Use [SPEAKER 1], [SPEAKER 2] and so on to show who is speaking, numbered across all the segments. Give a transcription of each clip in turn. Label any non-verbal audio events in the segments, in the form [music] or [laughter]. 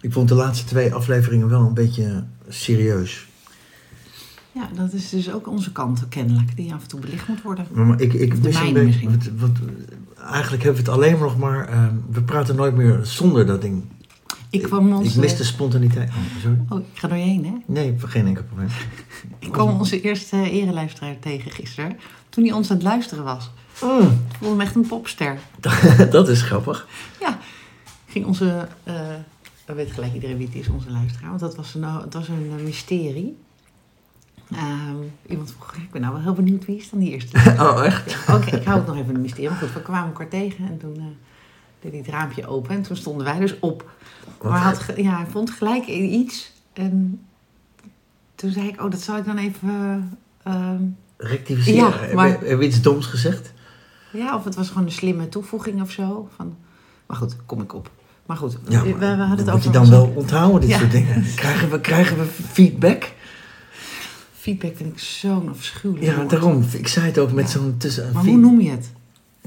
[SPEAKER 1] Ik vond de laatste twee afleveringen wel een beetje serieus.
[SPEAKER 2] Ja, dat is dus ook onze kant kennelijk, die af en toe belicht moet worden.
[SPEAKER 1] Maar, maar ik, ik
[SPEAKER 2] De
[SPEAKER 1] mis
[SPEAKER 2] mijne
[SPEAKER 1] een beetje. Wat,
[SPEAKER 2] misschien.
[SPEAKER 1] wat- eigenlijk hebben we het alleen maar nog maar. eh, we praten nooit meer zonder dat ding.
[SPEAKER 2] Ik kwam eh, onze...
[SPEAKER 1] ik mis de spontaniteit. Oh, sorry.
[SPEAKER 2] Oh, ik ga door je heen, hè?
[SPEAKER 1] Nee, geen enkel probleem.
[SPEAKER 2] Ik kwam onze eerste ereluisteraar tegen gisteren, toen hij ons aan het luisteren was.
[SPEAKER 1] Mm,
[SPEAKER 2] Ik voelde me echt een popster.
[SPEAKER 1] [laughs] dat is grappig.
[SPEAKER 2] Ja, ging onze... eh dan weet gelijk iedereen wie het is, onze luisteraar. Want dat was een, het was een eh, mysterie. Ehm, iemand vroeg, ik ben nou wel heel benieuwd wie is dan die eerste.
[SPEAKER 1] [laughs] Oh, echt?
[SPEAKER 2] Ja, Oké, ik hou het nog even een mysterie. Maar goed, we kwamen elkaar tegen en toen eh, deed hij het raampje open. En toen stonden wij dus op.
[SPEAKER 1] Wat
[SPEAKER 2] maar hij had ge- ja, hij vond gelijk iets. En toen zei ik, oh, dat zou ik dan even... eh, ehm,
[SPEAKER 1] Rectificeren.
[SPEAKER 2] Ja,
[SPEAKER 1] Heb-
[SPEAKER 2] maar-
[SPEAKER 1] Heb, heb je iets doms gezegd?
[SPEAKER 2] ja, of het was gewoon een slimme toevoeging of zo. Van, maar goed, kom ik op. Maar goed,
[SPEAKER 1] Ja,
[SPEAKER 2] we,
[SPEAKER 1] maar
[SPEAKER 2] we hadden
[SPEAKER 1] dat moet
[SPEAKER 2] het over
[SPEAKER 1] je dan wel onthouden, dit
[SPEAKER 2] Ja.
[SPEAKER 1] soort
[SPEAKER 2] [laughs]
[SPEAKER 1] dingen. Krijgen we, krijgen we feedback?
[SPEAKER 2] Feedback vind ik zo'n afschuwelijk
[SPEAKER 1] Ja,
[SPEAKER 2] woord.
[SPEAKER 1] daarom. Ik zei het ook met zo'n tussen...
[SPEAKER 2] Maar hoe noem je het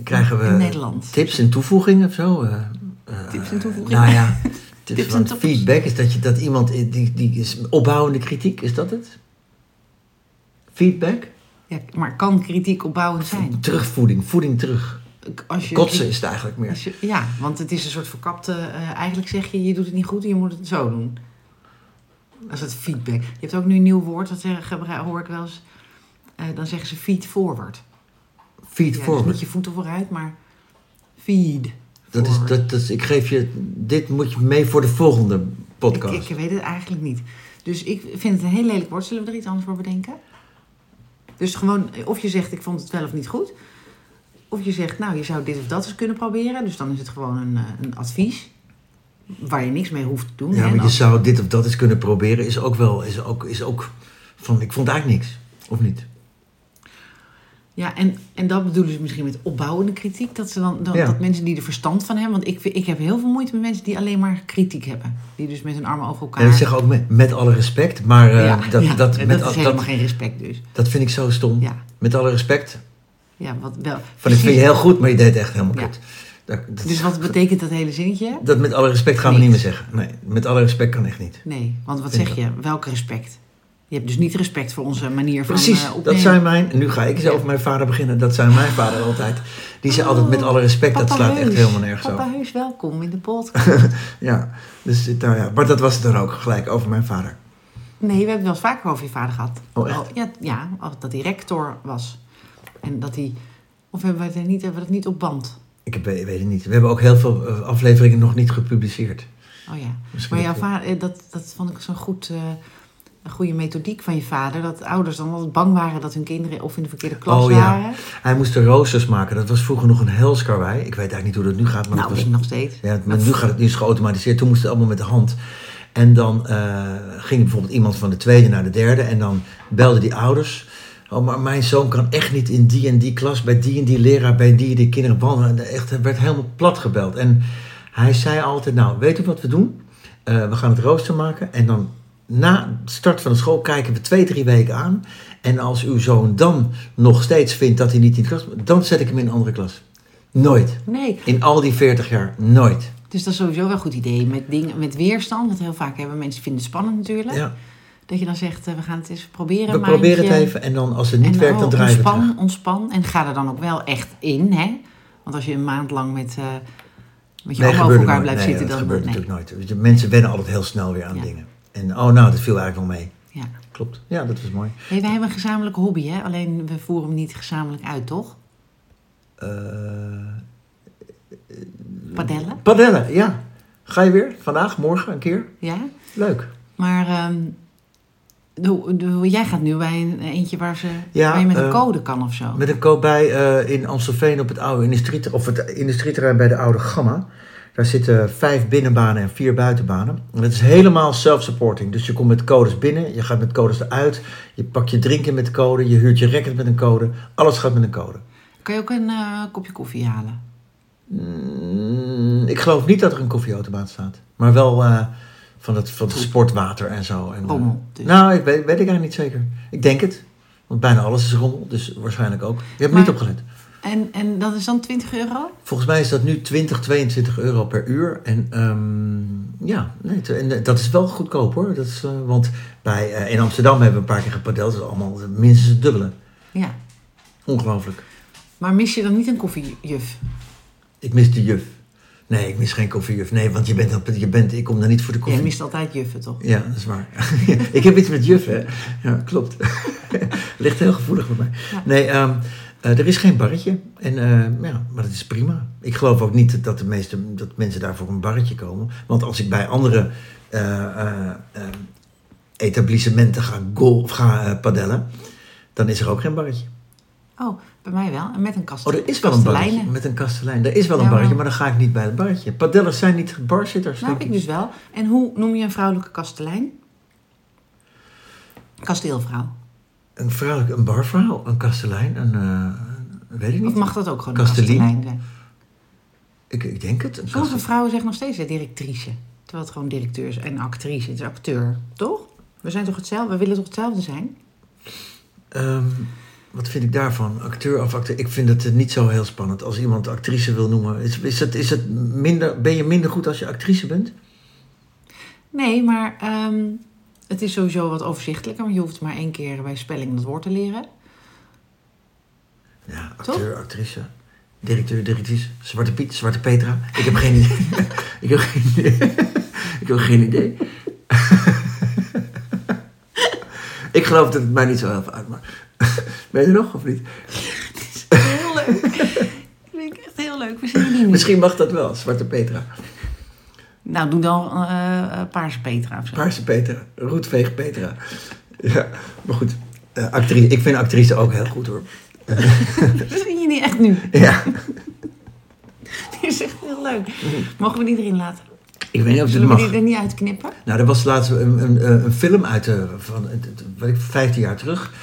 [SPEAKER 1] Krijgen we
[SPEAKER 2] in Nederland?
[SPEAKER 1] tips en toevoegingen of zo? Eh, eh,
[SPEAKER 2] Tips en toevoegingen?
[SPEAKER 1] Nou
[SPEAKER 2] [laughs]
[SPEAKER 1] ja, tips,
[SPEAKER 2] Tips en
[SPEAKER 1] want
[SPEAKER 2] toppers.
[SPEAKER 1] feedback is dat, je, dat iemand... i- Die, die is opbouwende kritiek, is dat het? Feedback?
[SPEAKER 2] Ja, maar kan kritiek opbouwend zijn?
[SPEAKER 1] Terugvoeding, voeding terug.
[SPEAKER 2] Als je
[SPEAKER 1] Kotsen is het eigenlijk meer.
[SPEAKER 2] Als je- ja, want het is een soort verkapte. eh, eigenlijk zeg je, je doet het niet goed en je moet het zo doen. Dat is het feedback. Je hebt ook nu een nieuw woord, dat zeggen, gebru- hoor ik wel eens. Eh, dan zeggen ze feed forward.
[SPEAKER 1] Feed
[SPEAKER 2] Ja,
[SPEAKER 1] forward.
[SPEAKER 2] Dus niet je voeten vooruit, maar feed.
[SPEAKER 1] Dat is,
[SPEAKER 2] forward.
[SPEAKER 1] dat, dat is, ik geef je, dit moet je mee voor de volgende podcast.
[SPEAKER 2] Ik, ik weet het eigenlijk niet. Dus ik vind het een heel lelijk woord. Zullen we er iets anders voor bedenken? Dus gewoon, eh, of je zegt ik vond het wel of niet goed. Of je zegt, nou, je zou dit of dat eens kunnen proberen. Dus dan is het gewoon een, eh, een advies. Waar je niks mee hoeft te doen.
[SPEAKER 1] ja,
[SPEAKER 2] hè?
[SPEAKER 1] maar je
[SPEAKER 2] Als-
[SPEAKER 1] zou dit of dat eens kunnen proberen, is ook wel, is ook, is ook van, ik vond eigenlijk niks. Of niet?
[SPEAKER 2] Ja, en, en dat bedoelen ze misschien met opbouwende kritiek. Dat, ze dan, dan,
[SPEAKER 1] Ja.
[SPEAKER 2] dat mensen die er verstand van hebben. Want ik, vind- ik heb heel veel moeite met mensen die alleen maar kritiek hebben. Die dus met hun armen over elkaar.
[SPEAKER 1] En ik zeg ook met, met alle respect, maar eh,
[SPEAKER 2] ja,
[SPEAKER 1] dat,
[SPEAKER 2] ja,
[SPEAKER 1] dat,
[SPEAKER 2] en
[SPEAKER 1] met
[SPEAKER 2] dat
[SPEAKER 1] al-
[SPEAKER 2] is helemaal
[SPEAKER 1] dat,
[SPEAKER 2] geen respect dus.
[SPEAKER 1] dat vind ik zo stom.
[SPEAKER 2] Ja,
[SPEAKER 1] Met alle respect,
[SPEAKER 2] ja wat wel.
[SPEAKER 1] van ik vind je
[SPEAKER 2] precies.
[SPEAKER 1] heel goed, maar je deed echt helemaal
[SPEAKER 2] Ja.
[SPEAKER 1] kut. Dat, dat,
[SPEAKER 2] Dus wat betekent dat hele zinnetje?
[SPEAKER 1] dat met alle respect gaan we
[SPEAKER 2] Niet.
[SPEAKER 1] niet meer zeggen. Nee, met alle respect kan echt niet.
[SPEAKER 2] Nee, want wat
[SPEAKER 1] Vind
[SPEAKER 2] zeg je? Welk respect? Je hebt dus niet respect voor onze manier van
[SPEAKER 1] Precies,
[SPEAKER 2] eh, opnemen.
[SPEAKER 1] dat zijn mijn, en nu ga ik eens over mijn vader beginnen, dat zijn mijn vader altijd. Die zei altijd met alle respect, dat
[SPEAKER 2] Papa
[SPEAKER 1] slaat echt
[SPEAKER 2] Heus.
[SPEAKER 1] helemaal nergens op.
[SPEAKER 2] Papa Heus, welkom in de podcast.
[SPEAKER 1] Ja, dus nou ja, maar dat was het dan ook gelijk over mijn vader.
[SPEAKER 2] Nee, we hebben het wel eens vaker over je vader gehad.
[SPEAKER 1] Oh, echt?
[SPEAKER 2] ja, ja, dat hij rector was. En dat hij... Of hebben we, het er niet, hebben we dat niet op band?
[SPEAKER 1] Ik heb, eh, weet het niet. We hebben ook heel veel eh, afleveringen nog niet gepubliceerd.
[SPEAKER 2] Oh ja.
[SPEAKER 1] Misschien
[SPEAKER 2] Maar jouw
[SPEAKER 1] ook wel.
[SPEAKER 2] vader, eh, dat, dat vond ik zo'n goed, eh, een goede methodiek van je vader. Dat ouders dan altijd bang waren dat hun kinderen of in de verkeerde klas
[SPEAKER 1] Oh ja.
[SPEAKER 2] waren.
[SPEAKER 1] Hij moest de roosters maken. Dat was vroeger nog een helskarwei. Ik weet eigenlijk niet hoe dat nu gaat. Maar
[SPEAKER 2] Nou,
[SPEAKER 1] dat
[SPEAKER 2] ik
[SPEAKER 1] was,
[SPEAKER 2] nog steeds.
[SPEAKER 1] ja, maar nu gaat het nu is het geautomatiseerd. Toen moest het allemaal met de hand. En dan eh, ging bijvoorbeeld iemand van de tweede naar de derde. En dan belden die ouders. Oh, maar mijn zoon kan echt niet in die en die klas, bij die en die leraar, bij die en die kinderen wandelen. En echt, hij werd helemaal plat gebeld. En hij zei altijd, nou, weet u wat we doen? Eh, we gaan het rooster maken en dan na de start van de school kijken we twee, drie weken aan. En als uw zoon dan nog steeds vindt dat hij niet in de klas moet, dan zet ik hem in een andere klas. Nooit.
[SPEAKER 2] Nee,
[SPEAKER 1] In al die 40 jaar, nooit.
[SPEAKER 2] Dus dat is sowieso wel een goed idee met, dingen, met weerstand. Want heel vaak hebben mensen vinden het spannend natuurlijk.
[SPEAKER 1] Ja,
[SPEAKER 2] Dat je dan zegt, eh, we gaan het eens proberen.
[SPEAKER 1] we
[SPEAKER 2] een
[SPEAKER 1] proberen het
[SPEAKER 2] maandje.
[SPEAKER 1] even en dan als het niet
[SPEAKER 2] eh, En,
[SPEAKER 1] werkt,
[SPEAKER 2] oh,
[SPEAKER 1] dan draaien we
[SPEAKER 2] ontspan,
[SPEAKER 1] terug.
[SPEAKER 2] ontspan. En ga er dan ook wel echt in, hè? Want als je een maand lang met, eh met je
[SPEAKER 1] Nee,
[SPEAKER 2] armen
[SPEAKER 1] gebeurde
[SPEAKER 2] over
[SPEAKER 1] nooit.
[SPEAKER 2] elkaar blijft
[SPEAKER 1] Nee,
[SPEAKER 2] zitten,
[SPEAKER 1] dat
[SPEAKER 2] dan... eh,
[SPEAKER 1] gebeurt
[SPEAKER 2] nee.
[SPEAKER 1] natuurlijk nooit. De mensen wennen altijd heel snel weer aan
[SPEAKER 2] Ja.
[SPEAKER 1] dingen. En oh, nou, dat viel eigenlijk wel mee.
[SPEAKER 2] Ja.
[SPEAKER 1] Klopt. Ja, dat was mooi.
[SPEAKER 2] Hey, wij hebben een gezamenlijke hobby, hè? Alleen we voeren hem niet gezamenlijk uit, toch?
[SPEAKER 1] Eh,
[SPEAKER 2] Padellen,
[SPEAKER 1] padellen, ja. Ga je weer? Vandaag, morgen, een keer?
[SPEAKER 2] ja?
[SPEAKER 1] Leuk.
[SPEAKER 2] Maar ehm, de- de- jij gaat nu bij een eentje waar, ze,
[SPEAKER 1] Ja,
[SPEAKER 2] waar je met een
[SPEAKER 1] eh,
[SPEAKER 2] code kan of zo.
[SPEAKER 1] Met een koop bij eh, in Amstelveen op het oude industrie, of het industrieterrein bij de oude Gamma. Daar zitten vijf binnenbanen en vier buitenbanen. En dat is helemaal self-supporting. Dus je komt met codes binnen, je gaat met codes eruit. Je pakt je drinken met code, je huurt je racket met een code. Alles gaat met een code.
[SPEAKER 2] Kan je ook een eh, kopje koffie halen?
[SPEAKER 1] Mm, ik geloof niet dat er een koffieautomaat staat. Maar wel eh, van het, van het sportwater en zo. En, eh,
[SPEAKER 2] Rommel, dus.
[SPEAKER 1] nou, ik weet, weet ik eigenlijk niet zeker. Ik denk het. Want bijna alles is rommel, dus waarschijnlijk ook. Je hebt er
[SPEAKER 2] Maar-
[SPEAKER 1] niet opgelet.
[SPEAKER 2] En, en dat is dan 20 euro?
[SPEAKER 1] Volgens mij is dat nu 20, 22 euro per uur. En ehm, ja, nee, te- en eh, dat is wel goedkoop hoor. Dat is, eh, want bij, eh, in Amsterdam hebben we een paar keer gepadeld. Dat is allemaal eh, minstens het dubbele.
[SPEAKER 2] Ja.
[SPEAKER 1] Ongelooflijk.
[SPEAKER 2] Maar mis je dan niet een koffiejuf?
[SPEAKER 1] Ik mis de juf. Nee, ik mis geen koffiejuf. Nee, want je bent, dat- je bent, ik kom daar niet voor de
[SPEAKER 2] Jij
[SPEAKER 1] koffie.
[SPEAKER 2] mist altijd juffen, toch?
[SPEAKER 1] Ja, dat is waar. [laughs] ik heb iets met juf, hè? Ja, klopt. [laughs] Ligt heel gevoelig bij mij.
[SPEAKER 2] Ja.
[SPEAKER 1] Nee, ehm, eh, er is geen barretje. En, eh, ja, maar dat is prima. Ik geloof ook niet dat, de meeste, dat mensen daar voor een barretje komen. Want als ik bij andere eh, eh, eh, etablissementen ga, golf, ga eh, padellen, dan is er ook geen barretje.
[SPEAKER 2] Oh, bij mij wel. En met een Nou, kast.
[SPEAKER 1] Oh, er is wel een barretje
[SPEAKER 2] kasteleinen.
[SPEAKER 1] met een kastelein. Er is wel een
[SPEAKER 2] Ja, maar-
[SPEAKER 1] barretje, maar dan ga ik niet bij het barretje. Padellers zijn niet barzitters.
[SPEAKER 2] Nou,
[SPEAKER 1] denk
[SPEAKER 2] ik dus wel. En hoe noem je een vrouwelijke kastelein? Kasteelvrouw.
[SPEAKER 1] Een vrouwelijke, een barvrouw, een kastelein, een... eh, weet ik niet.
[SPEAKER 2] Of mag dat ook gewoon
[SPEAKER 1] Kastelien?
[SPEAKER 2] een kastelein zijn?
[SPEAKER 1] Ik, ik denk het. Een
[SPEAKER 2] Sommige
[SPEAKER 1] kast-
[SPEAKER 2] vrouwen zeggen nog steeds hè, directrice. Terwijl het gewoon directeur is en actrice. Het is acteur, toch? We zijn toch hetzelfde? We willen toch hetzelfde zijn?
[SPEAKER 1] Ehm, wat vind ik daarvan? Acteur of acteur? Ik vind het eh, niet zo heel spannend. Als iemand actrice wil noemen, is, is, het, is het minder, ben je minder goed als je actrice bent?
[SPEAKER 2] Nee, maar ehm, het is sowieso wat overzichtelijker. Want je hoeft maar één keer bij spelling dat woord te leren.
[SPEAKER 1] Ja, acteur, actrice. Directeur, directrice. Zwarte Piet, Zwarte Petra. Ik heb geen idee. [laughs] ik heb geen idee. [laughs] ik heb geen idee. [laughs] ik geloof dat het mij niet zo heel veel uitmaakt. [laughs] ben je er nog of niet?
[SPEAKER 2] Heel leuk. Dat vind ik echt heel leuk. We zingen die nu.
[SPEAKER 1] [laughs] Misschien mag dat wel, Zwarte Petra.
[SPEAKER 2] Nou, doe dan eh, eh, Paarse Petra of zo.
[SPEAKER 1] Paarse Petra, roetveeg Petra. Ja, maar goed. eh, actrice, ik vind actrice ook heel goed hoor.
[SPEAKER 2] Dat vind je niet echt nu. [laughs]
[SPEAKER 1] Ja,
[SPEAKER 2] Die is echt heel leuk. Mogen we die erin laten?
[SPEAKER 1] ik weet niet of ze het
[SPEAKER 2] Zullen we die
[SPEAKER 1] Mhm. mag.
[SPEAKER 2] er niet uitknippen?
[SPEAKER 1] Nou, er was laatst een, een, een film uit de, van het- het- wat ik, 15 jaar terug.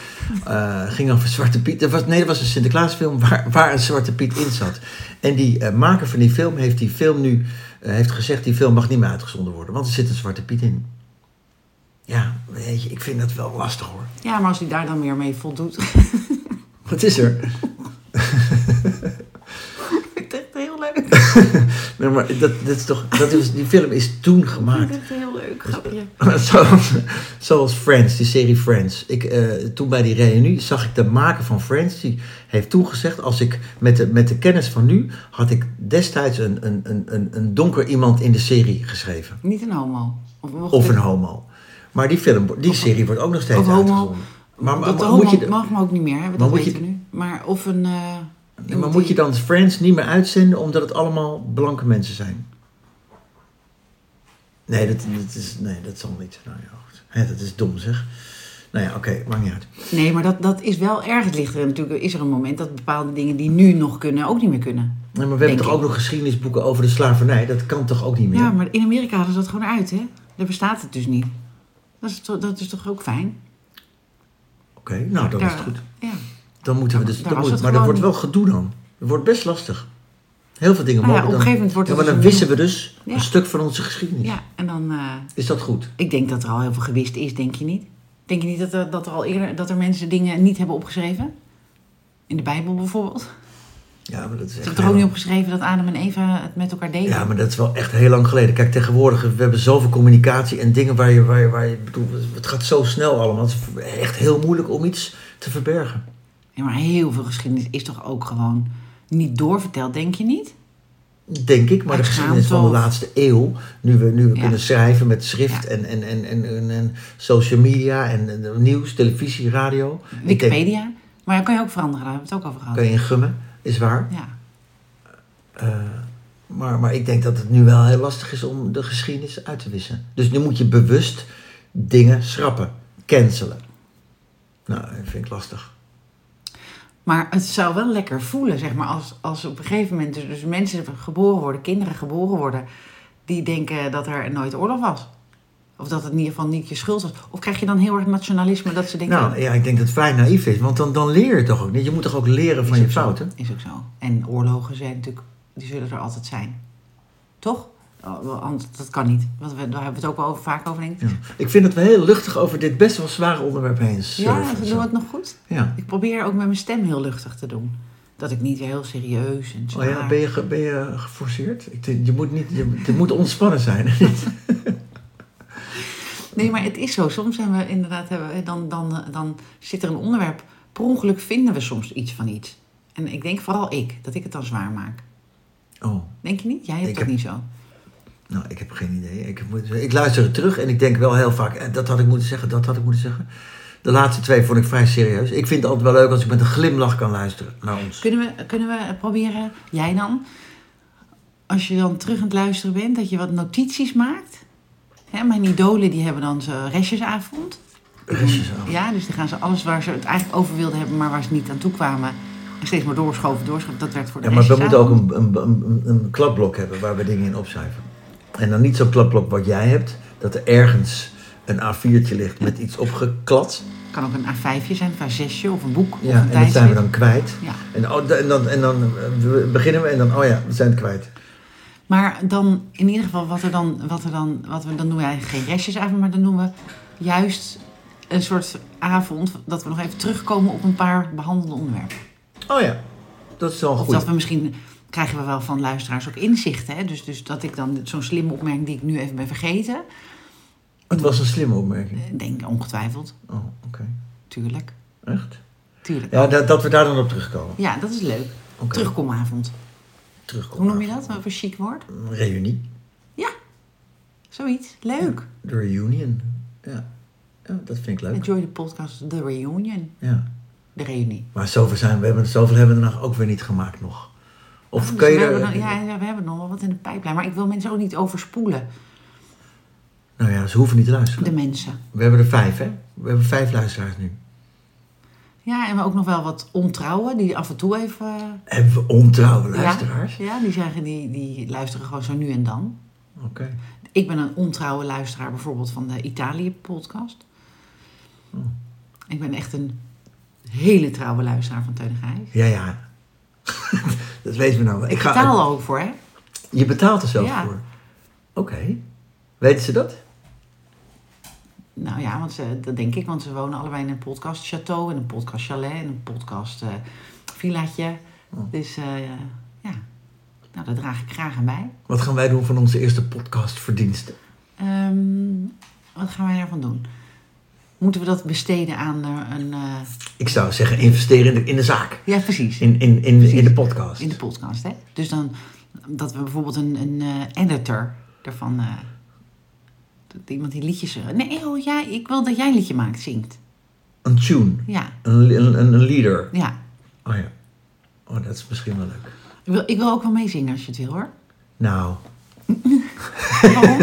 [SPEAKER 1] Eh ging over Zwarte Piet. Er was, nee, dat was een Sinterklaasfilm waar, waar een Zwarte Piet in zat. En die eh, maker van die film heeft die film nu eh, heeft gezegd: die film mag niet meer uitgezonden worden, want er zit een Zwarte Piet in. Ja, weet je, ik vind dat wel lastig hoor.
[SPEAKER 2] Ja, maar als hij daar dan meer mee voldoet. [laughs]
[SPEAKER 1] Wat is er?
[SPEAKER 2] Ik vind het echt heel leuk. Ik
[SPEAKER 1] Nee, maar dat, dat is toch, dat is, die film is toen
[SPEAKER 2] vind
[SPEAKER 1] gemaakt. [laughs]
[SPEAKER 2] het echt heel leuk. Grapje.
[SPEAKER 1] Zo- Zoals Friends, die serie Friends. Ik, eh, toen bij die reunie zag ik de maker van Friends. Die heeft toen gezegd, als ik met de, met de kennis van nu... had ik destijds een, een, een, een, een donker iemand in de serie geschreven.
[SPEAKER 2] Niet een homo. Of, mocht
[SPEAKER 1] Of
[SPEAKER 2] het-
[SPEAKER 1] een homo. Maar die, film, die serie wordt ook nog steeds
[SPEAKER 2] Of homo.
[SPEAKER 1] uitgezonden. Maar, maar,
[SPEAKER 2] dat
[SPEAKER 1] maar
[SPEAKER 2] homo
[SPEAKER 1] moet je, de-
[SPEAKER 2] mag me ook niet meer, hè? dat
[SPEAKER 1] Maar moet
[SPEAKER 2] weten
[SPEAKER 1] je-
[SPEAKER 2] we nu. Maar of een... eh,
[SPEAKER 1] maar
[SPEAKER 2] iemand
[SPEAKER 1] moet je
[SPEAKER 2] die-
[SPEAKER 1] dan Friends niet meer uitzenden... omdat het allemaal blanke mensen zijn? Nee, dat, dat, is, nee, dat zal niet. Nou ja, goed. Hè, dat is dom zeg. Nou ja, oké, maakt niet uit.
[SPEAKER 2] Nee, maar dat, dat is wel erg het lichter. En natuurlijk is er een moment dat bepaalde dingen die nu nog kunnen, ook niet meer kunnen.
[SPEAKER 1] Nee, maar we
[SPEAKER 2] Denk
[SPEAKER 1] hebben toch
[SPEAKER 2] ik.
[SPEAKER 1] ook nog geschiedenisboeken over de slavernij? Dat kan toch ook niet meer?
[SPEAKER 2] Ja, maar in Amerika hadden ze dat gewoon uit, hè? Daar bestaat het dus niet. Dat is, toch- dat is toch ook fijn?
[SPEAKER 1] Oké, nou dan is het
[SPEAKER 2] Daar-
[SPEAKER 1] goed.
[SPEAKER 2] Ja.
[SPEAKER 1] Dan moeten we dus.
[SPEAKER 2] daar
[SPEAKER 1] Dan
[SPEAKER 2] was
[SPEAKER 1] moet,
[SPEAKER 2] het
[SPEAKER 1] maar dat
[SPEAKER 2] gewoon
[SPEAKER 1] wordt wel gedoe dan. Het wordt best lastig. Heel veel dingen
[SPEAKER 2] Nou ja,
[SPEAKER 1] mogen
[SPEAKER 2] op een
[SPEAKER 1] dan-
[SPEAKER 2] gegeven moment wordt
[SPEAKER 1] Ja,
[SPEAKER 2] het
[SPEAKER 1] maar dan
[SPEAKER 2] dus
[SPEAKER 1] wissen
[SPEAKER 2] een
[SPEAKER 1] we dus
[SPEAKER 2] Ja.
[SPEAKER 1] een stuk van onze geschiedenis.
[SPEAKER 2] ja, en dan... eh,
[SPEAKER 1] Is dat goed?
[SPEAKER 2] ik denk dat er al heel veel gewist is, denk je niet? Denk je niet dat er, dat er al eerder dat er mensen dingen niet hebben opgeschreven? In de Bijbel bijvoorbeeld.
[SPEAKER 1] Ja, maar dat is echt.
[SPEAKER 2] Is er ook
[SPEAKER 1] heel-
[SPEAKER 2] niet opgeschreven dat Adam en Eva het met elkaar deden?
[SPEAKER 1] Ja, maar dat is wel echt heel lang geleden. Kijk, tegenwoordig we hebben zoveel communicatie en dingen waar je, waar je, waar je ik bedoel, het gaat zo snel allemaal. Het is echt heel moeilijk om iets te verbergen.
[SPEAKER 2] Ja, maar heel veel geschiedenis is toch ook gewoon niet doorverteld, denk je niet?
[SPEAKER 1] Denk ik, maar de
[SPEAKER 2] Het
[SPEAKER 1] geschiedenis
[SPEAKER 2] gaat
[SPEAKER 1] van de
[SPEAKER 2] toch-
[SPEAKER 1] laatste eeuw, nu we, nu we
[SPEAKER 2] Ja.
[SPEAKER 1] kunnen schrijven met schrift
[SPEAKER 2] Ja.
[SPEAKER 1] en, en, en, en, en, en social media en, en nieuws, televisie, radio. Ik denk,
[SPEAKER 2] Wikipedia. Maar dat kan je ook veranderen, daar hebben we het ook over gehad.
[SPEAKER 1] kan je in gummen, is waar.
[SPEAKER 2] Ja.
[SPEAKER 1] Maar, maar ik denk dat het nu wel heel lastig is om de geschiedenis uit te wissen. Dus nu moet je bewust dingen schrappen, cancelen. Nou, dat vind ik lastig.
[SPEAKER 2] Maar het zou wel lekker voelen, zeg maar, als, als op een gegeven moment dus, dus mensen geboren worden, kinderen geboren worden, die denken dat er nooit oorlog was. Of dat het in ieder geval niet je schuld was. Of krijg je dan heel erg nationalisme dat ze denken.
[SPEAKER 1] Nou ja, ik denk dat het vrij naïef is, want dan, dan leer je toch ook niet. Je moet toch ook leren van je fouten?
[SPEAKER 2] Is ook zo. En oorlogen zijn natuurlijk, die zullen er altijd zijn. Toch? Oh, wel, Anders, dat kan niet. Want we, daar hebben we het ook wel over, vaak over, denk ik.
[SPEAKER 1] Ja. Ik vind dat we heel luchtig over dit best wel zware onderwerp heen
[SPEAKER 2] Ja,
[SPEAKER 1] surfen.
[SPEAKER 2] doen we
[SPEAKER 1] zo.
[SPEAKER 2] het nog goed?
[SPEAKER 1] ja.
[SPEAKER 2] Ik probeer ook met mijn stem heel luchtig te doen. Dat ik niet heel serieus en zo.
[SPEAKER 1] Oh ja, ben je, ge- ben je geforceerd? Ik denk, je moet niet, je, het moet ontspannen zijn. [laughs]
[SPEAKER 2] Nee, maar het is zo. Soms zijn we inderdaad, hebben, we- dan, dan, dan zit er een onderwerp. Per ongeluk vinden we soms iets van iets. En ik denk vooral ik, dat ik het dan zwaar maak.
[SPEAKER 1] oh,
[SPEAKER 2] Denk je niet? Jij hebt
[SPEAKER 1] Ik
[SPEAKER 2] dat
[SPEAKER 1] heb-
[SPEAKER 2] niet zo.
[SPEAKER 1] nou, ik heb geen idee. Ik, moet- ik luister het terug en ik denk wel heel vaak, eh, dat had ik moeten zeggen, dat had ik moeten zeggen. De laatste twee vond ik vrij serieus. Ik vind het altijd wel leuk als ik met een glimlach kan luisteren naar ons.
[SPEAKER 2] Kunnen we, kunnen we proberen, jij dan, als je dan terug aan het luisteren bent, dat je wat notities maakt? Hè, mijn idolen die hebben dan zo'n restjesavond.
[SPEAKER 1] Restjes af.
[SPEAKER 2] Ja, dus dan gaan ze alles waar ze het eigenlijk over wilden hebben, maar waar ze niet aan toe kwamen. En steeds maar doorschoven, doorschoven. Dat werd voor de
[SPEAKER 1] Ja, maar we moeten ook
[SPEAKER 2] restjesavond.
[SPEAKER 1] een, een, een, een kladblok hebben waar we dingen in opschrijven. En dan niet zo'n kladblok wat jij hebt, dat er ergens een A4'tje ligt met iets opgeklad.
[SPEAKER 2] kan ook een A5'tje zijn, een A6'tje of een boek. of
[SPEAKER 1] Ja,
[SPEAKER 2] een
[SPEAKER 1] en dat zijn we
[SPEAKER 2] tijdschrift.
[SPEAKER 1] dan kwijt.
[SPEAKER 2] Ja.
[SPEAKER 1] En, oh, da- en dan, en dan eh, we beginnen we en dan, oh ja, we zijn het kwijt.
[SPEAKER 2] Maar dan, in ieder geval, wat, er dan, wat, er dan, wat we dan noemen we eigenlijk geen restjesavond, maar dan noemen we juist een soort avond dat we nog even terugkomen op een paar behandelde onderwerpen.
[SPEAKER 1] Oh ja, dat is wel
[SPEAKER 2] Of
[SPEAKER 1] goed.
[SPEAKER 2] dat we misschien krijgen we wel van luisteraars ook inzichten. Hè? Dus, dus dat ik dan zo'n slimme opmerking die ik nu even ben vergeten,
[SPEAKER 1] Het was een slimme opmerking.
[SPEAKER 2] eh, denk ik ongetwijfeld,
[SPEAKER 1] Oh, oké.
[SPEAKER 2] tuurlijk,
[SPEAKER 1] Echt?
[SPEAKER 2] tuurlijk. Ja,
[SPEAKER 1] Ja, dat, dat we daar dan op terugkomen.
[SPEAKER 2] dat is leuk.
[SPEAKER 1] Oké.
[SPEAKER 2] Terugkomavond.
[SPEAKER 1] Terugkomen.
[SPEAKER 2] Hoe noem je dat? Wat voor chic woord?
[SPEAKER 1] Een Reunie.
[SPEAKER 2] Ja, zoiets. Leuk.
[SPEAKER 1] De reunion. Ja. ja, dat vind ik leuk.
[SPEAKER 2] Enjoy the podcast, The Reunion.
[SPEAKER 1] Ja.
[SPEAKER 2] De reunie.
[SPEAKER 1] Maar zoveel, zijn, we hebben, zoveel hebben we er nog ook weer niet gemaakt nog. Of
[SPEAKER 2] Dus
[SPEAKER 1] kun je
[SPEAKER 2] we
[SPEAKER 1] er...
[SPEAKER 2] hebben nog- ja, ja, we hebben nog wel wat in de pijplijn. Maar ik wil mensen ook niet overspoelen.
[SPEAKER 1] Nou ja, ze hoeven niet te luisteren.
[SPEAKER 2] De mensen.
[SPEAKER 1] We hebben er vijf, hè? We hebben vijf luisteraars nu.
[SPEAKER 2] Ja, en we ook nog wel wat ontrouwen. Die af en toe even... eh,
[SPEAKER 1] Hebben we ontrouwe luisteraars?
[SPEAKER 2] Ja, ja die, zeggen, die, die luisteren gewoon zo nu en dan.
[SPEAKER 1] Oké.
[SPEAKER 2] Ik ben een ontrouwe luisteraar bijvoorbeeld van de Italië-podcast.
[SPEAKER 1] Hm.
[SPEAKER 2] Ik ben echt een hele trouwe luisteraar van Teun en Gijs.
[SPEAKER 1] Ja, ja. [laughs] dat weten we nou wel.
[SPEAKER 2] Ik betaal er ook voor, hè?
[SPEAKER 1] Je betaalt er zelf
[SPEAKER 2] Ja.
[SPEAKER 1] voor? Oké. Weten ze dat?
[SPEAKER 2] Nou ja, want ze, dat denk ik, want ze wonen allebei in een podcast château, en een podcast chalet, en een podcast eh villaatje. Dus eh, ja, nou, daar draag ik graag aan bij.
[SPEAKER 1] Wat gaan wij doen van onze eerste podcastverdiensten?
[SPEAKER 2] Ehm, wat gaan wij daarvan doen? Moeten we dat besteden aan eh, een. eh,
[SPEAKER 1] Ik zou zeggen, investeren in de, in de zaak.
[SPEAKER 2] Ja, precies.
[SPEAKER 1] In, in, in,
[SPEAKER 2] Precies.
[SPEAKER 1] in de podcast.
[SPEAKER 2] In de podcast, hè? Dus dan dat we bijvoorbeeld een, een eh, editor daarvan. eh, dat iemand die liedjes. eh, nee, oh, jij, ik wil dat jij een liedje maakt, zingt.
[SPEAKER 1] Een tune.
[SPEAKER 2] Ja,
[SPEAKER 1] Een, li- een, een leader.
[SPEAKER 2] ja.
[SPEAKER 1] Oh ja. Oh, dat is misschien wel leuk.
[SPEAKER 2] Ik wil, ik wil ook wel meezingen als je het wil hoor.
[SPEAKER 1] Nou,
[SPEAKER 2] Waarom?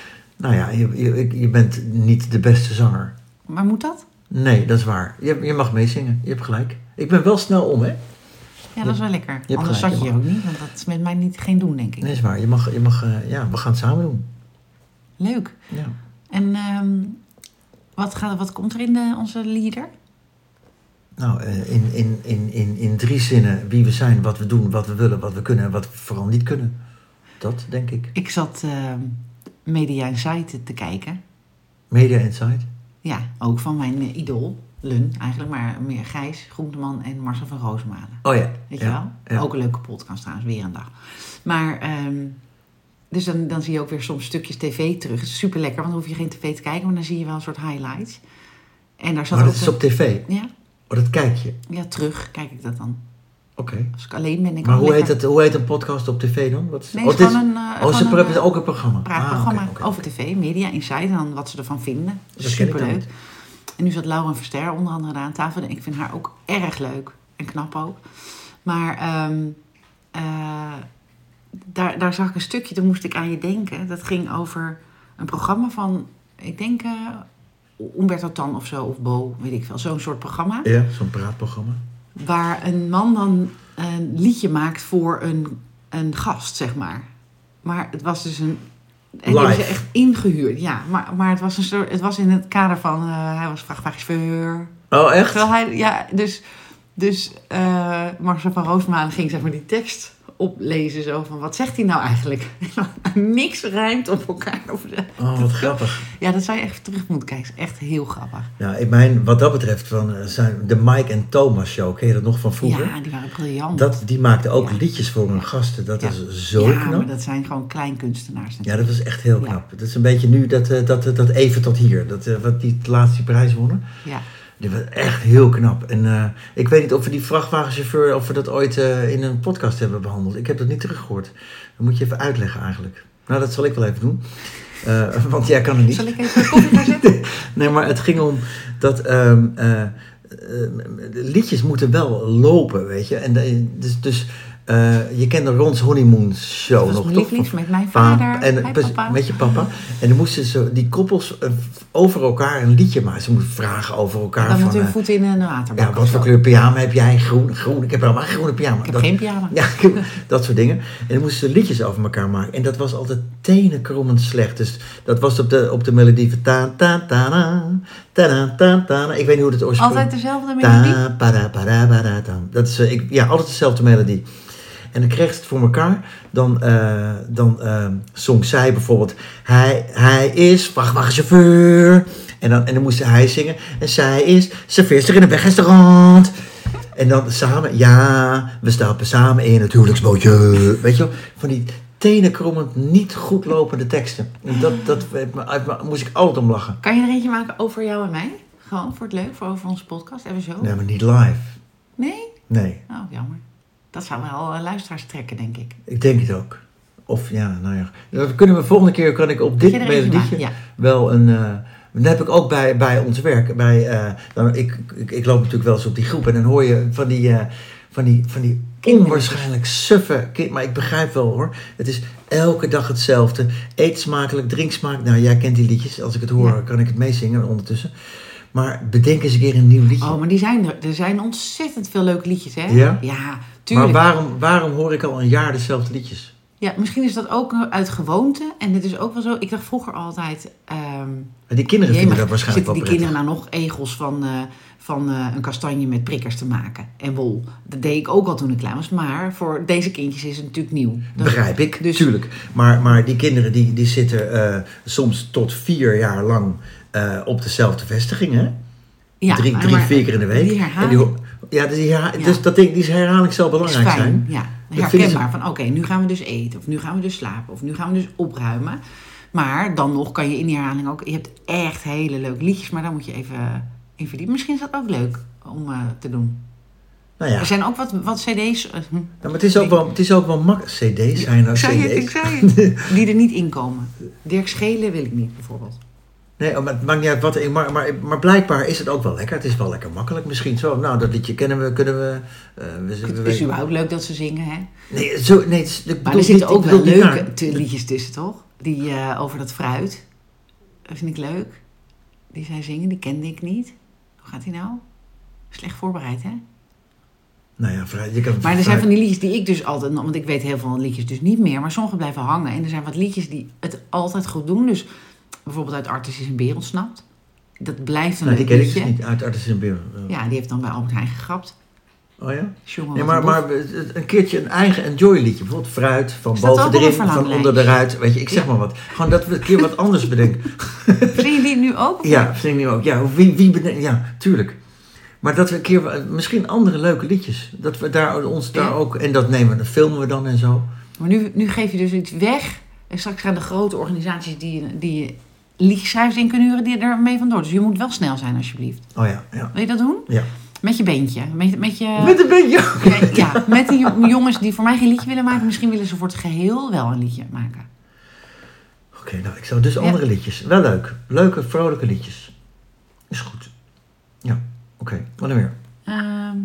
[SPEAKER 1] [laughs] nou ja, je, je, je bent niet de beste zanger.
[SPEAKER 2] maar moet dat?
[SPEAKER 1] Nee, dat is waar. Je, je mag meezingen. Je hebt gelijk. Ik ben wel snel om, hè?
[SPEAKER 2] Ja, dat is wel lekker.
[SPEAKER 1] hebt
[SPEAKER 2] Anders
[SPEAKER 1] gelijk,
[SPEAKER 2] zat je
[SPEAKER 1] je
[SPEAKER 2] hier ook niet, want dat is met mij niet, geen doen, denk ik.
[SPEAKER 1] Nee, is waar. Je mag, je mag eh, ja, we gaan het samen doen.
[SPEAKER 2] Leuk.
[SPEAKER 1] Ja.
[SPEAKER 2] En ehm, wat, gaat, wat komt er in eh, onze leader?
[SPEAKER 1] Nou, eh, in, in, in, in, in drie zinnen wie we zijn, wat we doen, wat we willen, wat we kunnen en wat we vooral niet kunnen. Dat, denk ik.
[SPEAKER 2] Ik zat ehm, Media Insight te kijken.
[SPEAKER 1] Media Insight.
[SPEAKER 2] Ja, ook van mijn eh, idool, Lun eigenlijk, maar meer Gijs Groenteman en Marcel van Roosmalen.
[SPEAKER 1] Oh ja.
[SPEAKER 2] Weet
[SPEAKER 1] ja,
[SPEAKER 2] je wel? Oh,
[SPEAKER 1] ja.
[SPEAKER 2] Ook een leuke podcast trouwens, weer een dag. Maar, ehm, dus dan, dan zie je ook weer soms stukjes tv terug. Het is super lekker, want dan hoef je geen tv te kijken, maar dan zie je wel een soort highlights. En daar zat
[SPEAKER 1] Maar
[SPEAKER 2] ook
[SPEAKER 1] dat is
[SPEAKER 2] een-
[SPEAKER 1] op tv.
[SPEAKER 2] ja,
[SPEAKER 1] Oh, dat kijk je.
[SPEAKER 2] ja, terug kijk ik dat dan.
[SPEAKER 1] Oké.
[SPEAKER 2] Als ik alleen ben, ik
[SPEAKER 1] Maar
[SPEAKER 2] al
[SPEAKER 1] hoe heet,
[SPEAKER 2] lekker
[SPEAKER 1] het, hoe heet een podcast op tv dan? Wat is,
[SPEAKER 2] Nee,
[SPEAKER 1] oh,
[SPEAKER 2] het is
[SPEAKER 1] dit
[SPEAKER 2] gewoon een, eh,
[SPEAKER 1] oh, ze
[SPEAKER 2] gewoon een, Oh,
[SPEAKER 1] hebben
[SPEAKER 2] eh,
[SPEAKER 1] ook een programma.
[SPEAKER 2] praatprogramma
[SPEAKER 1] Ah, oké, oké.
[SPEAKER 2] over tv, media, insight en dan wat ze ervan vinden.
[SPEAKER 1] Dat ken ik dan
[SPEAKER 2] Superleuk.
[SPEAKER 1] niet.
[SPEAKER 2] En nu zat Laura Verster onder andere daar aan tafel. En ik vind haar ook erg leuk. En knap ook. Maar ehm, eh, daar, daar zag ik een stukje, toen moest ik aan je denken. Dat ging over een programma van, ik denk, eh Umberto Tan of zo, of Bo, weet ik veel. Zo'n soort programma.
[SPEAKER 1] Ja, zo'n praatprogramma.
[SPEAKER 2] Waar een man dan een liedje maakt voor een, een gast, zeg maar. Maar het was dus een. En die
[SPEAKER 1] Live.
[SPEAKER 2] hebben ze echt ingehuurd, ja. Maar, maar het, was een soort, het was in het kader van. eh, hij was vrachtwagenchauffeur.
[SPEAKER 1] Oh, echt?
[SPEAKER 2] Terwijl hij. Ja, dus. Dus eh Marcel van Roosmalen ging zeg maar die tekst oplezen. Zo van, wat zegt hij nou eigenlijk? [laughs] Niks rijmt op elkaar. Of de-
[SPEAKER 1] Oh, wat grappig.
[SPEAKER 2] Ja, dat zou je echt terug moeten kijken. Is echt heel grappig.
[SPEAKER 1] Nou, ik mijn, wat dat betreft, van, eh, zijn de Mike en Thomas show, ken je dat nog van vroeger?
[SPEAKER 2] Ja, die waren briljant.
[SPEAKER 1] Dat, die maakten ook
[SPEAKER 2] Ja.
[SPEAKER 1] liedjes voor hun gasten. Dat
[SPEAKER 2] Ja.
[SPEAKER 1] is zo
[SPEAKER 2] ja,
[SPEAKER 1] knap.
[SPEAKER 2] maar dat zijn gewoon kleinkunstenaars.
[SPEAKER 1] Ja, dat was echt heel
[SPEAKER 2] Ja.
[SPEAKER 1] knap. Dat is een beetje nu dat, eh, dat, dat even tot hier. Dat, eh, wat die laatste prijs wonnen.
[SPEAKER 2] Ja.
[SPEAKER 1] Dit was echt heel knap. En eh, ik weet niet of we die vrachtwagenchauffeur, of we dat ooit eh, in een podcast hebben behandeld. Ik heb dat niet teruggehoord. Dat moet je even uitleggen eigenlijk. Nou, dat zal ik wel even doen. Eh, [laughs] want jij kan het niet.
[SPEAKER 2] Zal ik even een koffie gaan zetten?
[SPEAKER 1] Nee, maar het ging om dat ehm, eh, eh, de liedjes moeten wel lopen, weet je. En de- dus, dus eh, je kent de Ron's Honeymoon Show
[SPEAKER 2] Dat was
[SPEAKER 1] nog,
[SPEAKER 2] mijn
[SPEAKER 1] toch?
[SPEAKER 2] lievelingslied met mijn
[SPEAKER 1] Pa-
[SPEAKER 2] vader,
[SPEAKER 1] en,
[SPEAKER 2] mijn
[SPEAKER 1] precies,
[SPEAKER 2] papa.
[SPEAKER 1] Met je papa. En dan moesten ze die koppels eh, over elkaar een liedje maken. Ze moesten vragen over elkaar.
[SPEAKER 2] Dan
[SPEAKER 1] van,
[SPEAKER 2] moet hun
[SPEAKER 1] eh,
[SPEAKER 2] voeten in een waterbak.
[SPEAKER 1] ja, wat
[SPEAKER 2] of zo.
[SPEAKER 1] voor kleur pyjama heb jij? Groen, groen. Ik heb helemaal geen groene pyjama.
[SPEAKER 2] Ik heb geen pyjama.
[SPEAKER 1] Ja, [laughs] dat soort dingen. En dan moesten ze liedjes over elkaar maken. En dat was altijd tenenkrommend slecht. Dus dat was op de, op de melodie van ta ta ta na, ta na, ta ta na. Ik weet niet hoe het oorspronkelijk...
[SPEAKER 2] Altijd dezelfde melodie?
[SPEAKER 1] Ta para para para tam. Dat is, eh, ik, ja, altijd dezelfde melodie. En dan kreeg ze het voor elkaar. Dan, eh, dan eh, zong zij bijvoorbeeld... Hij, hij is vrachtwagenchauffeur. En dan, en dan moest hij zingen. En zij is serveerster in een wegrestaurant. En dan samen... Ja, we stappen samen in het huwelijksbootje. Weet je wel? Van die tenenkrommend, niet goed lopende teksten. En dat, dat heeft me- uit me- moest ik altijd om lachen.
[SPEAKER 2] Kan je er eentje maken over jou en mij? Gewoon voor het leuk, voor over onze podcast. Even zo.
[SPEAKER 1] Nee, maar niet live.
[SPEAKER 2] Nee?
[SPEAKER 1] Nee.
[SPEAKER 2] Oh, jammer. Dat zou wel eh, luisteraars trekken, denk ik.
[SPEAKER 1] Ik denk het ook. Of ja, nou ja. Dat kunnen we volgende keer kan ik op
[SPEAKER 2] Kan
[SPEAKER 1] dit
[SPEAKER 2] je er eentje
[SPEAKER 1] melodietje
[SPEAKER 2] maken?
[SPEAKER 1] wel een. eh dat heb ik ook bij, bij ons werk. Bij, eh, dan, ik, ik, ik loop natuurlijk wel eens op die groep en dan hoor je van die, eh, van die, van die
[SPEAKER 2] Kinderen.
[SPEAKER 1] onwaarschijnlijk suffe kind. Maar ik begrijp wel hoor. Het is elke dag hetzelfde. Eet smakelijk, drink smakelijk. Nou, jij kent die liedjes. Als ik het hoor,
[SPEAKER 2] Ja.
[SPEAKER 1] kan ik het meezingen ondertussen. Maar bedenk eens een keer een nieuw liedje.
[SPEAKER 2] Oh, maar die zijn er. Er zijn ontzettend veel leuke liedjes, hè?
[SPEAKER 1] Ja? maar
[SPEAKER 2] tuurlijk.
[SPEAKER 1] waarom, waarom hoor ik al een jaar dezelfde liedjes?
[SPEAKER 2] Ja, misschien is dat ook eh, uit gewoonte. En het is ook wel zo. Ik dacht vroeger altijd... ehm,
[SPEAKER 1] Die kinderen
[SPEAKER 2] Jee,
[SPEAKER 1] vinden
[SPEAKER 2] maar
[SPEAKER 1] dat waarschijnlijk
[SPEAKER 2] zitten
[SPEAKER 1] wel
[SPEAKER 2] die
[SPEAKER 1] prettig.
[SPEAKER 2] kinderen nou nog egels van, eh, van eh, een kastanje met prikkers te maken en wol? Dat deed ik ook al toen ik klein was, maar voor deze kindjes is het natuurlijk nieuw. Dat-
[SPEAKER 1] Begrijp ik,
[SPEAKER 2] Dus-
[SPEAKER 1] tuurlijk. Maar, maar die kinderen die, die zitten eh, soms tot vier jaar lang eh, op dezelfde vestiging, hè?
[SPEAKER 2] ja,
[SPEAKER 1] drie,
[SPEAKER 2] maar-
[SPEAKER 1] drie
[SPEAKER 2] maar
[SPEAKER 1] vier keer in de week.
[SPEAKER 2] Die
[SPEAKER 1] En die
[SPEAKER 2] herhaling
[SPEAKER 1] ho- ja, dus die herha-
[SPEAKER 2] Ja.
[SPEAKER 1] dus dat denk ik, die herhaling zal
[SPEAKER 2] is
[SPEAKER 1] belangrijk
[SPEAKER 2] fijn.
[SPEAKER 1] zijn.
[SPEAKER 2] Ja,
[SPEAKER 1] Dat vinden
[SPEAKER 2] herkenbaar. Van oké, nu gaan we dus eten, of nu gaan we dus slapen, of nu gaan we dus opruimen. Maar dan nog kan je in die herhaling ook... Je hebt echt hele leuke liedjes, maar daar moet je even eh, in verdiepen. Misschien is dat ook leuk om eh, te doen.
[SPEAKER 1] Nou ja,
[SPEAKER 2] Er zijn ook wat, wat cd's... eh, hm.
[SPEAKER 1] nou, maar het is ook wel, het is ook wel makkelijk. CD's zijn nou
[SPEAKER 2] Ik zei het, ik
[SPEAKER 1] CD's.
[SPEAKER 2] zei het. [laughs] Die er niet in komen. Dirk Schelen wil ik niet, bijvoorbeeld.
[SPEAKER 1] [laughs] Nee, oh, maar het maakt niet uit wat. er- Maar, maar, maar blijkbaar is het ook wel lekker. Het is wel lekker makkelijk misschien zo. Nou, dat liedje kennen we, kunnen we. eh, we,
[SPEAKER 2] Het
[SPEAKER 1] we-
[SPEAKER 2] is überhaupt leuk dat ze zingen, hè?
[SPEAKER 1] nee, zo, nee, het is- ik
[SPEAKER 2] Maar
[SPEAKER 1] bedoel
[SPEAKER 2] er
[SPEAKER 1] niet-
[SPEAKER 2] zitten
[SPEAKER 1] ik
[SPEAKER 2] ook wel
[SPEAKER 1] bedoel niet
[SPEAKER 2] leuke
[SPEAKER 1] naar-
[SPEAKER 2] te- liedjes tussen, toch? Die eh, over dat fruit. Dat vind ik leuk. Die zij zingen, die kende ik niet. Hoe gaat die nou? Slecht voorbereid, hè?
[SPEAKER 1] Nou ja, vrij, je kan
[SPEAKER 2] Maar er
[SPEAKER 1] vrij-
[SPEAKER 2] zijn van die liedjes die ik dus altijd... Want ik weet heel veel liedjes dus niet meer. Maar sommige blijven hangen. En er zijn wat liedjes die het altijd goed doen. Dus bijvoorbeeld uit Artis is een beer ontsnapt. Dat blijft een
[SPEAKER 1] Nou, die
[SPEAKER 2] leuk
[SPEAKER 1] ken ik
[SPEAKER 2] liedje.
[SPEAKER 1] dus niet uit Artisan Beer.
[SPEAKER 2] Ja, die heeft dan bij Albert Heijn gegrapt.
[SPEAKER 1] Oh ja?
[SPEAKER 2] Jongen,
[SPEAKER 1] Nee,
[SPEAKER 2] wat
[SPEAKER 1] maar,
[SPEAKER 2] een boef.
[SPEAKER 1] maar eh, een keertje een eigen enjoy liedje. Bijvoorbeeld fruit, van
[SPEAKER 2] Staat ook
[SPEAKER 1] boven
[SPEAKER 2] op een
[SPEAKER 1] erin, van
[SPEAKER 2] verlanglijstje.
[SPEAKER 1] onder de ruit. Weet je, ik zeg maar wat. Gewoon dat we een keer wat anders bedenken.
[SPEAKER 2] [laughs] Zing je die nu ook?
[SPEAKER 1] Ja, vind ik nu ook. Ja, wie, wie bedenkt, ja, tuurlijk. Maar dat we een keer, wa- misschien andere leuke liedjes. Dat we daar ons daar
[SPEAKER 2] Ja.
[SPEAKER 1] ook, en dat nemen, dat filmen we dan en zo.
[SPEAKER 2] Maar nu, nu geef je dus iets weg. En straks gaan de grote organisaties die, die liedjeschrijvers in kunnen huren, die ermee vandoor. Dus je moet wel snel zijn, alsjeblieft.
[SPEAKER 1] Oh ja, ja.
[SPEAKER 2] Wil je dat doen?
[SPEAKER 1] ja.
[SPEAKER 2] Met je bandje. Met, met je...
[SPEAKER 1] Met een beetje [laughs] ook.
[SPEAKER 2] Ja, ja, met die jo- jongens die voor mij geen liedje willen maken. Misschien willen ze voor het geheel wel een liedje maken.
[SPEAKER 1] Oké, nou, ik zou dus andere liedjes. Wel leuk. Leuke, vrolijke liedjes. Is goed. Ja, oké. Wat dan meer?
[SPEAKER 2] Ehm,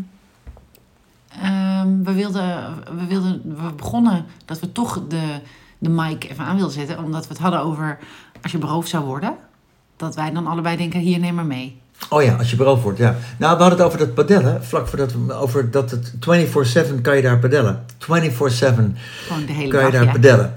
[SPEAKER 2] ehm, we, wilden, we, wilden, we begonnen dat we toch de, de mic even aan wilden zetten. Omdat we het hadden over als je beroofd zou worden. Dat wij dan allebei denken, hier neem maar mee.
[SPEAKER 1] Oh ja, als je beroofd wordt, ja. Nou, we hadden het over dat padellen. Vlak voordat we over dat het 24-7 kan je daar padellen. 24-7
[SPEAKER 2] Gewoon de hele
[SPEAKER 1] kan je
[SPEAKER 2] dag,
[SPEAKER 1] daar
[SPEAKER 2] ja.
[SPEAKER 1] padellen.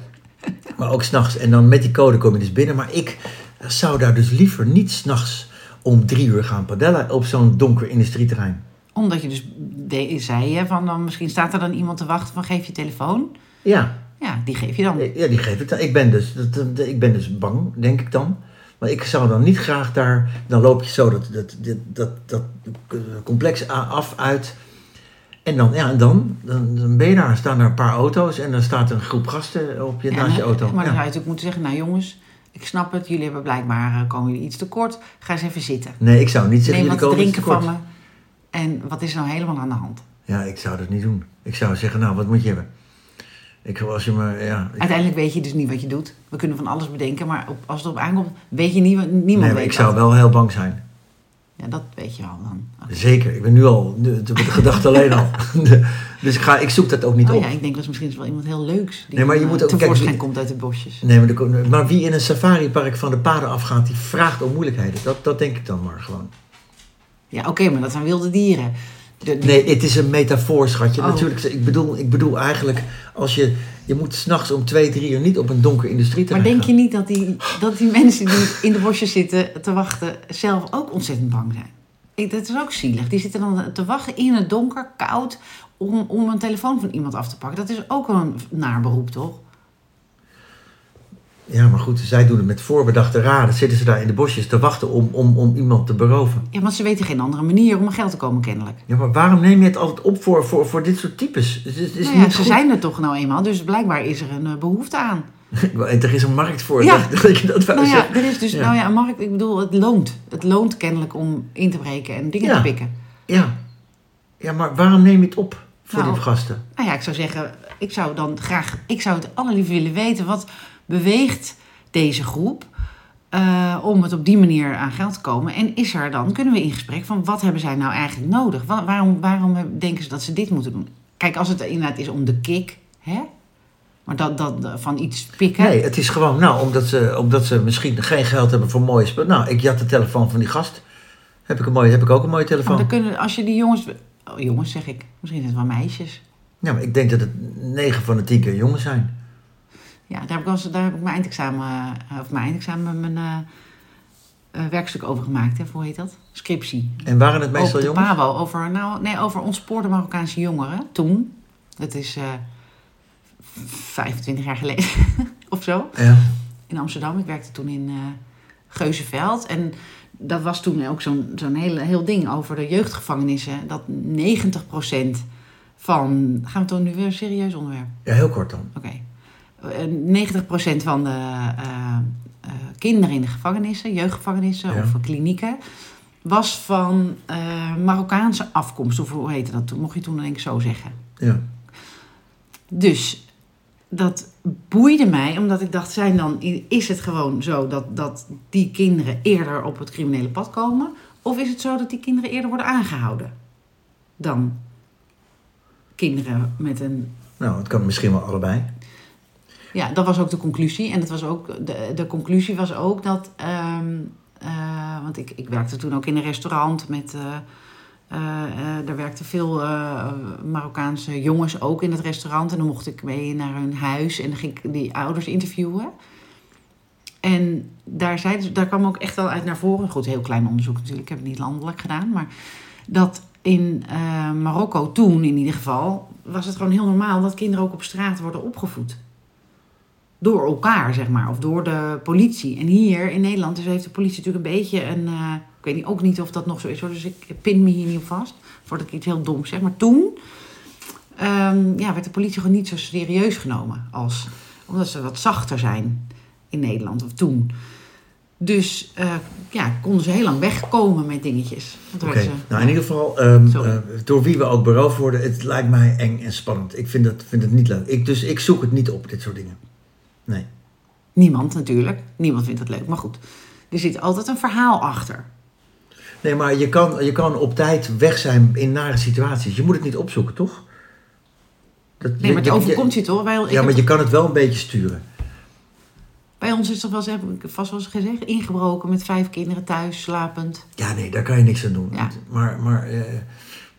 [SPEAKER 1] Maar ook s'nachts. En dan met die code kom je dus binnen. Maar ik zou daar dus liever niet s'nachts om drie uur gaan padellen op zo'n donker industrieterrein.
[SPEAKER 2] Omdat je dus de, zei, hè, van dan, misschien staat er dan iemand te wachten van geef je telefoon.
[SPEAKER 1] Ja,
[SPEAKER 2] Ja, die geef je dan.
[SPEAKER 1] ja die geef ik dan. Ik ben, dus, dat, dat- ik ben dus bang, denk ik dan. Maar ik zou dan niet graag daar... Dan loop je zo dat, dat, dat, dat, dat complex a- af uit. En dan, ja, en dan, dan, dan ben je daar, staan er een paar auto's... en dan staat een groep gasten op je,
[SPEAKER 2] Ja,
[SPEAKER 1] naast je
[SPEAKER 2] maar-
[SPEAKER 1] auto.
[SPEAKER 2] eh, Maar dan zou je
[SPEAKER 1] Ja.
[SPEAKER 2] natuurlijk moeten zeggen, nou jongens, ik snap het. Jullie hebben blijkbaar, eh, komen jullie iets tekort. Ga eens even zitten.
[SPEAKER 1] Nee, ik zou niet zeggen...
[SPEAKER 2] Neem wat
[SPEAKER 1] jullie
[SPEAKER 2] te
[SPEAKER 1] komen iets
[SPEAKER 2] drinken van
[SPEAKER 1] tekort.
[SPEAKER 2] me. En wat is er nou helemaal aan de hand?
[SPEAKER 1] Ja, ik zou dat niet doen. Ik zou zeggen, nou, wat moet je hebben? Ik, als je me, ja, ik-
[SPEAKER 2] Uiteindelijk weet je dus niet wat je doet. We kunnen van alles bedenken, maar op, als het op aankomt, weet je niet, wat- niemand
[SPEAKER 1] nee, maar
[SPEAKER 2] weet
[SPEAKER 1] ik
[SPEAKER 2] dat.
[SPEAKER 1] zou wel heel bang zijn.
[SPEAKER 2] Ja, dat weet je al dan. Oké.
[SPEAKER 1] Zeker, ik ben nu al, nu- de, de gedachte alleen al. [laughs] De- dus ik, ga, ik zoek dat ook niet
[SPEAKER 2] Oh
[SPEAKER 1] op.
[SPEAKER 2] ja, ik denk dat is misschien wel iemand heel leuks die
[SPEAKER 1] Nee, maar je
[SPEAKER 2] dan,
[SPEAKER 1] moet
[SPEAKER 2] eh,
[SPEAKER 1] ook- kijk,
[SPEAKER 2] tevoorschijn
[SPEAKER 1] wie-
[SPEAKER 2] komt uit de bosjes.
[SPEAKER 1] Nee, maar, er komt- maar wie in een safaripark van de paden afgaat, die vraagt om moeilijkheden. Dat, dat denk ik dan maar gewoon.
[SPEAKER 2] Ja, oké, maar dat zijn wilde dieren. De- die-
[SPEAKER 1] Nee, het is een metafoor, schatje.
[SPEAKER 2] Oh.
[SPEAKER 1] Natuurlijk, ik bedoel, ik bedoel eigenlijk, als je, je moet s'nachts om twee, drie uur niet op een donker
[SPEAKER 2] maar
[SPEAKER 1] industrieterrein
[SPEAKER 2] denk je
[SPEAKER 1] gaan.
[SPEAKER 2] niet dat die, dat die mensen die in de bosjes zitten te wachten zelf ook ontzettend bang zijn? Ik, dat is ook zielig. Die zitten dan te wachten in het donker, koud, om, om een telefoon van iemand af te pakken. Dat is ook een naar beroep, toch?
[SPEAKER 1] Ja, maar goed, zij doen het met voorbedachte raden. Zitten ze daar in de bosjes te wachten om, om, om iemand te beroven.
[SPEAKER 2] Ja, want ze weten geen andere manier om aan geld te komen, kennelijk.
[SPEAKER 1] Ja, maar waarom neem je het altijd op voor, voor, voor dit soort types? Het is, het is
[SPEAKER 2] Nou
[SPEAKER 1] Dus
[SPEAKER 2] ja,
[SPEAKER 1] niet
[SPEAKER 2] ze
[SPEAKER 1] goed. [laughs]
[SPEAKER 2] zijn er toch nou eenmaal, dus blijkbaar is er een eh, behoefte aan.
[SPEAKER 1] En er is een markt voor.
[SPEAKER 2] Ja.
[SPEAKER 1] [laughs] Dat, dat je dat wou
[SPEAKER 2] Nou ja,
[SPEAKER 1] zeggen.
[SPEAKER 2] er is dus,
[SPEAKER 1] Ja.
[SPEAKER 2] nou ja, Mark, ik bedoel, het loont. Het loont kennelijk om in te breken en dingen
[SPEAKER 1] Ja.
[SPEAKER 2] te pikken.
[SPEAKER 1] Ja. ja, maar waarom neem je het op voor
[SPEAKER 2] Nou.
[SPEAKER 1] die gasten?
[SPEAKER 2] Nou ja, ik zou zeggen, ik zou dan graag, ik zou het allerliefst willen weten, wat beweegt deze groep eh, om het op die manier aan geld te komen? En is er dan, kunnen we in gesprek van wat hebben zij nou eigenlijk nodig? Wa- waarom, waarom denken ze dat ze dit moeten doen? Kijk, als het inderdaad is om de kick, hè? Maar dat, dat eh, van iets pikken.
[SPEAKER 1] Nee, het is gewoon, nou, omdat ze, omdat ze misschien geen geld hebben voor mooie spullen. Nou, ik jat de telefoon van die gast. Heb ik, een mooie, heb ik ook een mooie
[SPEAKER 2] Maar Oh, dan
[SPEAKER 1] telefoon?
[SPEAKER 2] kunnen, als je die jongens... Oh, jongens zeg ik. Misschien zijn het wel meisjes.
[SPEAKER 1] Ja, maar ik denk dat het 9 van de 10 keer jongens zijn.
[SPEAKER 2] Ja, daar heb ik, wel eens- daar heb ik mijn eindexamen... eh, Of mijn eindexamen, mijn eh, eh, werkstuk over gemaakt. Hè? Hoe heet dat? Scriptie.
[SPEAKER 1] En waren het meestal
[SPEAKER 2] over de
[SPEAKER 1] jongens?
[SPEAKER 2] PAWO. Over, nou, nee, over ontspoorde Marokkaanse jongeren. Toen. Dat is eh, 25 jaar geleden. [laughs] of zo.
[SPEAKER 1] Ja.
[SPEAKER 2] in Amsterdam. Ik werkte toen in eh Geuzenveld. En dat was toen ook zo'n zo'n hele, heel ding over de jeugdgevangenissen. Dat 90% van. Gaan we toch nu weer een serieus onderwerp?
[SPEAKER 1] ja, heel kort dan.
[SPEAKER 2] Oké. Eh, 90% van de eh, eh, kinderen in de gevangenissen, jeugdgevangenissen
[SPEAKER 1] Ja.
[SPEAKER 2] of klinieken, was van eh, Marokkaanse afkomst. Of hoe heette dat toen? Mocht je toen denk ik zo zeggen.
[SPEAKER 1] Ja.
[SPEAKER 2] Dus dat boeide mij, omdat ik dacht, zijn dan, is het gewoon zo dat, dat die kinderen eerder op het criminele pad komen? Of is het zo dat die kinderen eerder worden aangehouden dan kinderen met een...
[SPEAKER 1] Nou, het kan misschien wel allebei.
[SPEAKER 2] Ja, dat was ook de conclusie. En dat was ook, de, de conclusie was ook dat... ehm, eh, want ik, ik werkte toen ook in een restaurant met... eh eh, eh, daar werkten veel eh, Marokkaanse jongens ook in het restaurant. En dan mocht ik mee naar hun huis en dan ging ik die ouders interviewen. En daar, zeiden ze- daar kwam ook echt wel uit naar voren. Goed, heel klein onderzoek natuurlijk. Ik heb het niet landelijk gedaan. Maar dat in eh, Marokko toen in ieder geval... was het gewoon heel normaal dat kinderen ook op straat worden opgevoed. Door elkaar, zeg maar. Of door de politie. En hier in Nederland dus heeft de politie natuurlijk een beetje een... eh, ik weet niet, ook niet of dat nog zo is hoor. Dus ik pin me hier niet op vast. Voordat ik iets heel doms zeg. Maar toen ehm, ja, werd de politie gewoon niet zo serieus genomen. Als, omdat ze wat zachter zijn in Nederland. Of toen. Dus eh, ja, konden ze heel lang wegkomen met dingetjes. Want toen
[SPEAKER 1] Oké,
[SPEAKER 2] werden ze-
[SPEAKER 1] nou in ieder geval, ehm,
[SPEAKER 2] Sorry.
[SPEAKER 1] eh, door wie we ook beroofd worden, het lijkt mij eng en spannend. Ik vind, dat, vind het niet leuk. Ik, dus ik zoek het niet op, dit soort dingen. Nee.
[SPEAKER 2] Niemand natuurlijk. Niemand vindt dat leuk. Maar goed, er zit altijd een verhaal achter.
[SPEAKER 1] Nee, maar je kan, je kan op tijd weg zijn in nare situaties. Je moet het niet opzoeken, toch? Dat,
[SPEAKER 2] Nee, maar het overkomt je toch? Wij, ik
[SPEAKER 1] Ja,
[SPEAKER 2] heb-
[SPEAKER 1] maar je kan het wel een beetje sturen.
[SPEAKER 2] Bij ons is toch wel eens, heb ik vast wel eens gezegd, ingebroken met vijf kinderen thuis, slapend.
[SPEAKER 1] Ja, nee, daar kan je niks aan doen.
[SPEAKER 2] Ja.
[SPEAKER 1] Maar, maar, eh,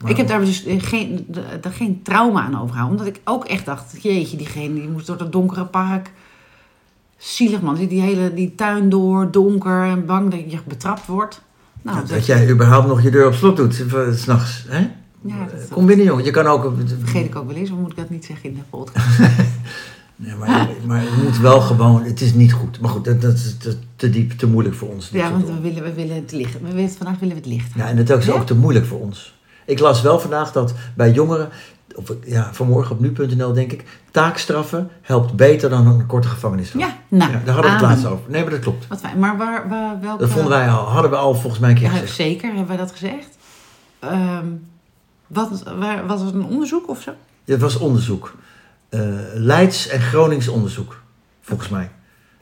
[SPEAKER 1] maar-
[SPEAKER 2] Ik heb daar dus eh, geen, d- daar geen trauma aan overgehouden. Omdat ik ook echt dacht, jeetje, diegene die moest door dat donkere park. Zielig man, zit die hele die tuin door, donker en bang dat je betrapt wordt. Nou,
[SPEAKER 1] dat, jij überhaupt nog je deur op slot doet, eh, s'nachts. hè?
[SPEAKER 2] Ja, dat-
[SPEAKER 1] Kom binnen, jongen. Je kan ook...
[SPEAKER 2] Vergeet ik ook wel eens, of moet ik dat niet zeggen in de podcast?
[SPEAKER 1] Nee, maar, maar je moet wel gewoon... Het is niet goed. Maar goed, dat, dat is te, te diep, te moeilijk voor ons. dit
[SPEAKER 2] Ja,
[SPEAKER 1] soort
[SPEAKER 2] want
[SPEAKER 1] dingen.
[SPEAKER 2] we willen, we willen het licht. We willen, vandaag willen we het licht.
[SPEAKER 1] Ja, en dat is
[SPEAKER 2] Ja?
[SPEAKER 1] ook te moeilijk voor ons. Ik las wel vandaag dat bij jongeren, of, ja, vanmorgen op nu.nl denk ik, taakstraffen helpt beter dan een korte gevangenisstraf.
[SPEAKER 2] Ja,
[SPEAKER 1] daar
[SPEAKER 2] nou,
[SPEAKER 1] hadden we het
[SPEAKER 2] amen.
[SPEAKER 1] laatst over. Nee, maar dat klopt.
[SPEAKER 2] Wat fijn. Maar waar, waar welke...
[SPEAKER 1] Dat vonden wij al, hadden we al volgens mij een keer
[SPEAKER 2] Ja,
[SPEAKER 1] gezegd.
[SPEAKER 2] zeker, hebben wij dat gezegd. Ehm, wat, waar, was het een onderzoek of zo?
[SPEAKER 1] Het was onderzoek. Eh, Leids en Gronings onderzoek, volgens mij.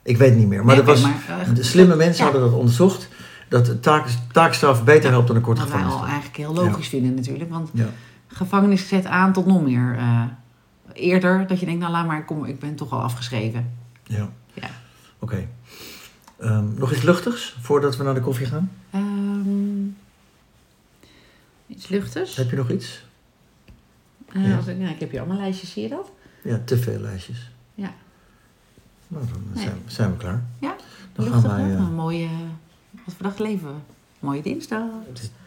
[SPEAKER 1] Ik weet het niet meer. Maar,
[SPEAKER 2] Nee,
[SPEAKER 1] dat was,
[SPEAKER 2] oké, maar, eh,
[SPEAKER 1] de slimme mensen
[SPEAKER 2] ja.
[SPEAKER 1] hadden dat onderzocht. Dat de taak, taakstraf beter helpt dan een korte
[SPEAKER 2] Wat wij al
[SPEAKER 1] gevangenisstraf.
[SPEAKER 2] eigenlijk heel logisch vinden natuurlijk. Want
[SPEAKER 1] Ja.
[SPEAKER 2] gevangenis zet aan tot nog meer. eh, eerder dat je denkt, nou laat maar, kom, ik ben toch al afgeschreven.
[SPEAKER 1] Ja,
[SPEAKER 2] Ja.
[SPEAKER 1] oké. Ehm, nog iets luchtigs voordat we naar de koffie gaan?
[SPEAKER 2] Ehm, iets luchtigs.
[SPEAKER 1] Heb je nog iets?
[SPEAKER 2] Eh,
[SPEAKER 1] ja.
[SPEAKER 2] als ik, nou, ik heb hier allemaal lijstjes, zie je dat?
[SPEAKER 1] Ja, te veel lijstjes.
[SPEAKER 2] Ja.
[SPEAKER 1] Nou, dan
[SPEAKER 2] Nee.
[SPEAKER 1] zijn, zijn we klaar.
[SPEAKER 2] Ja,
[SPEAKER 1] Dan
[SPEAKER 2] luchtig.
[SPEAKER 1] gaan wij...
[SPEAKER 2] hè? Nou,
[SPEAKER 1] eh,
[SPEAKER 2] Een mooie, wat voor dag leven we? Mooie dinsdag.
[SPEAKER 1] het is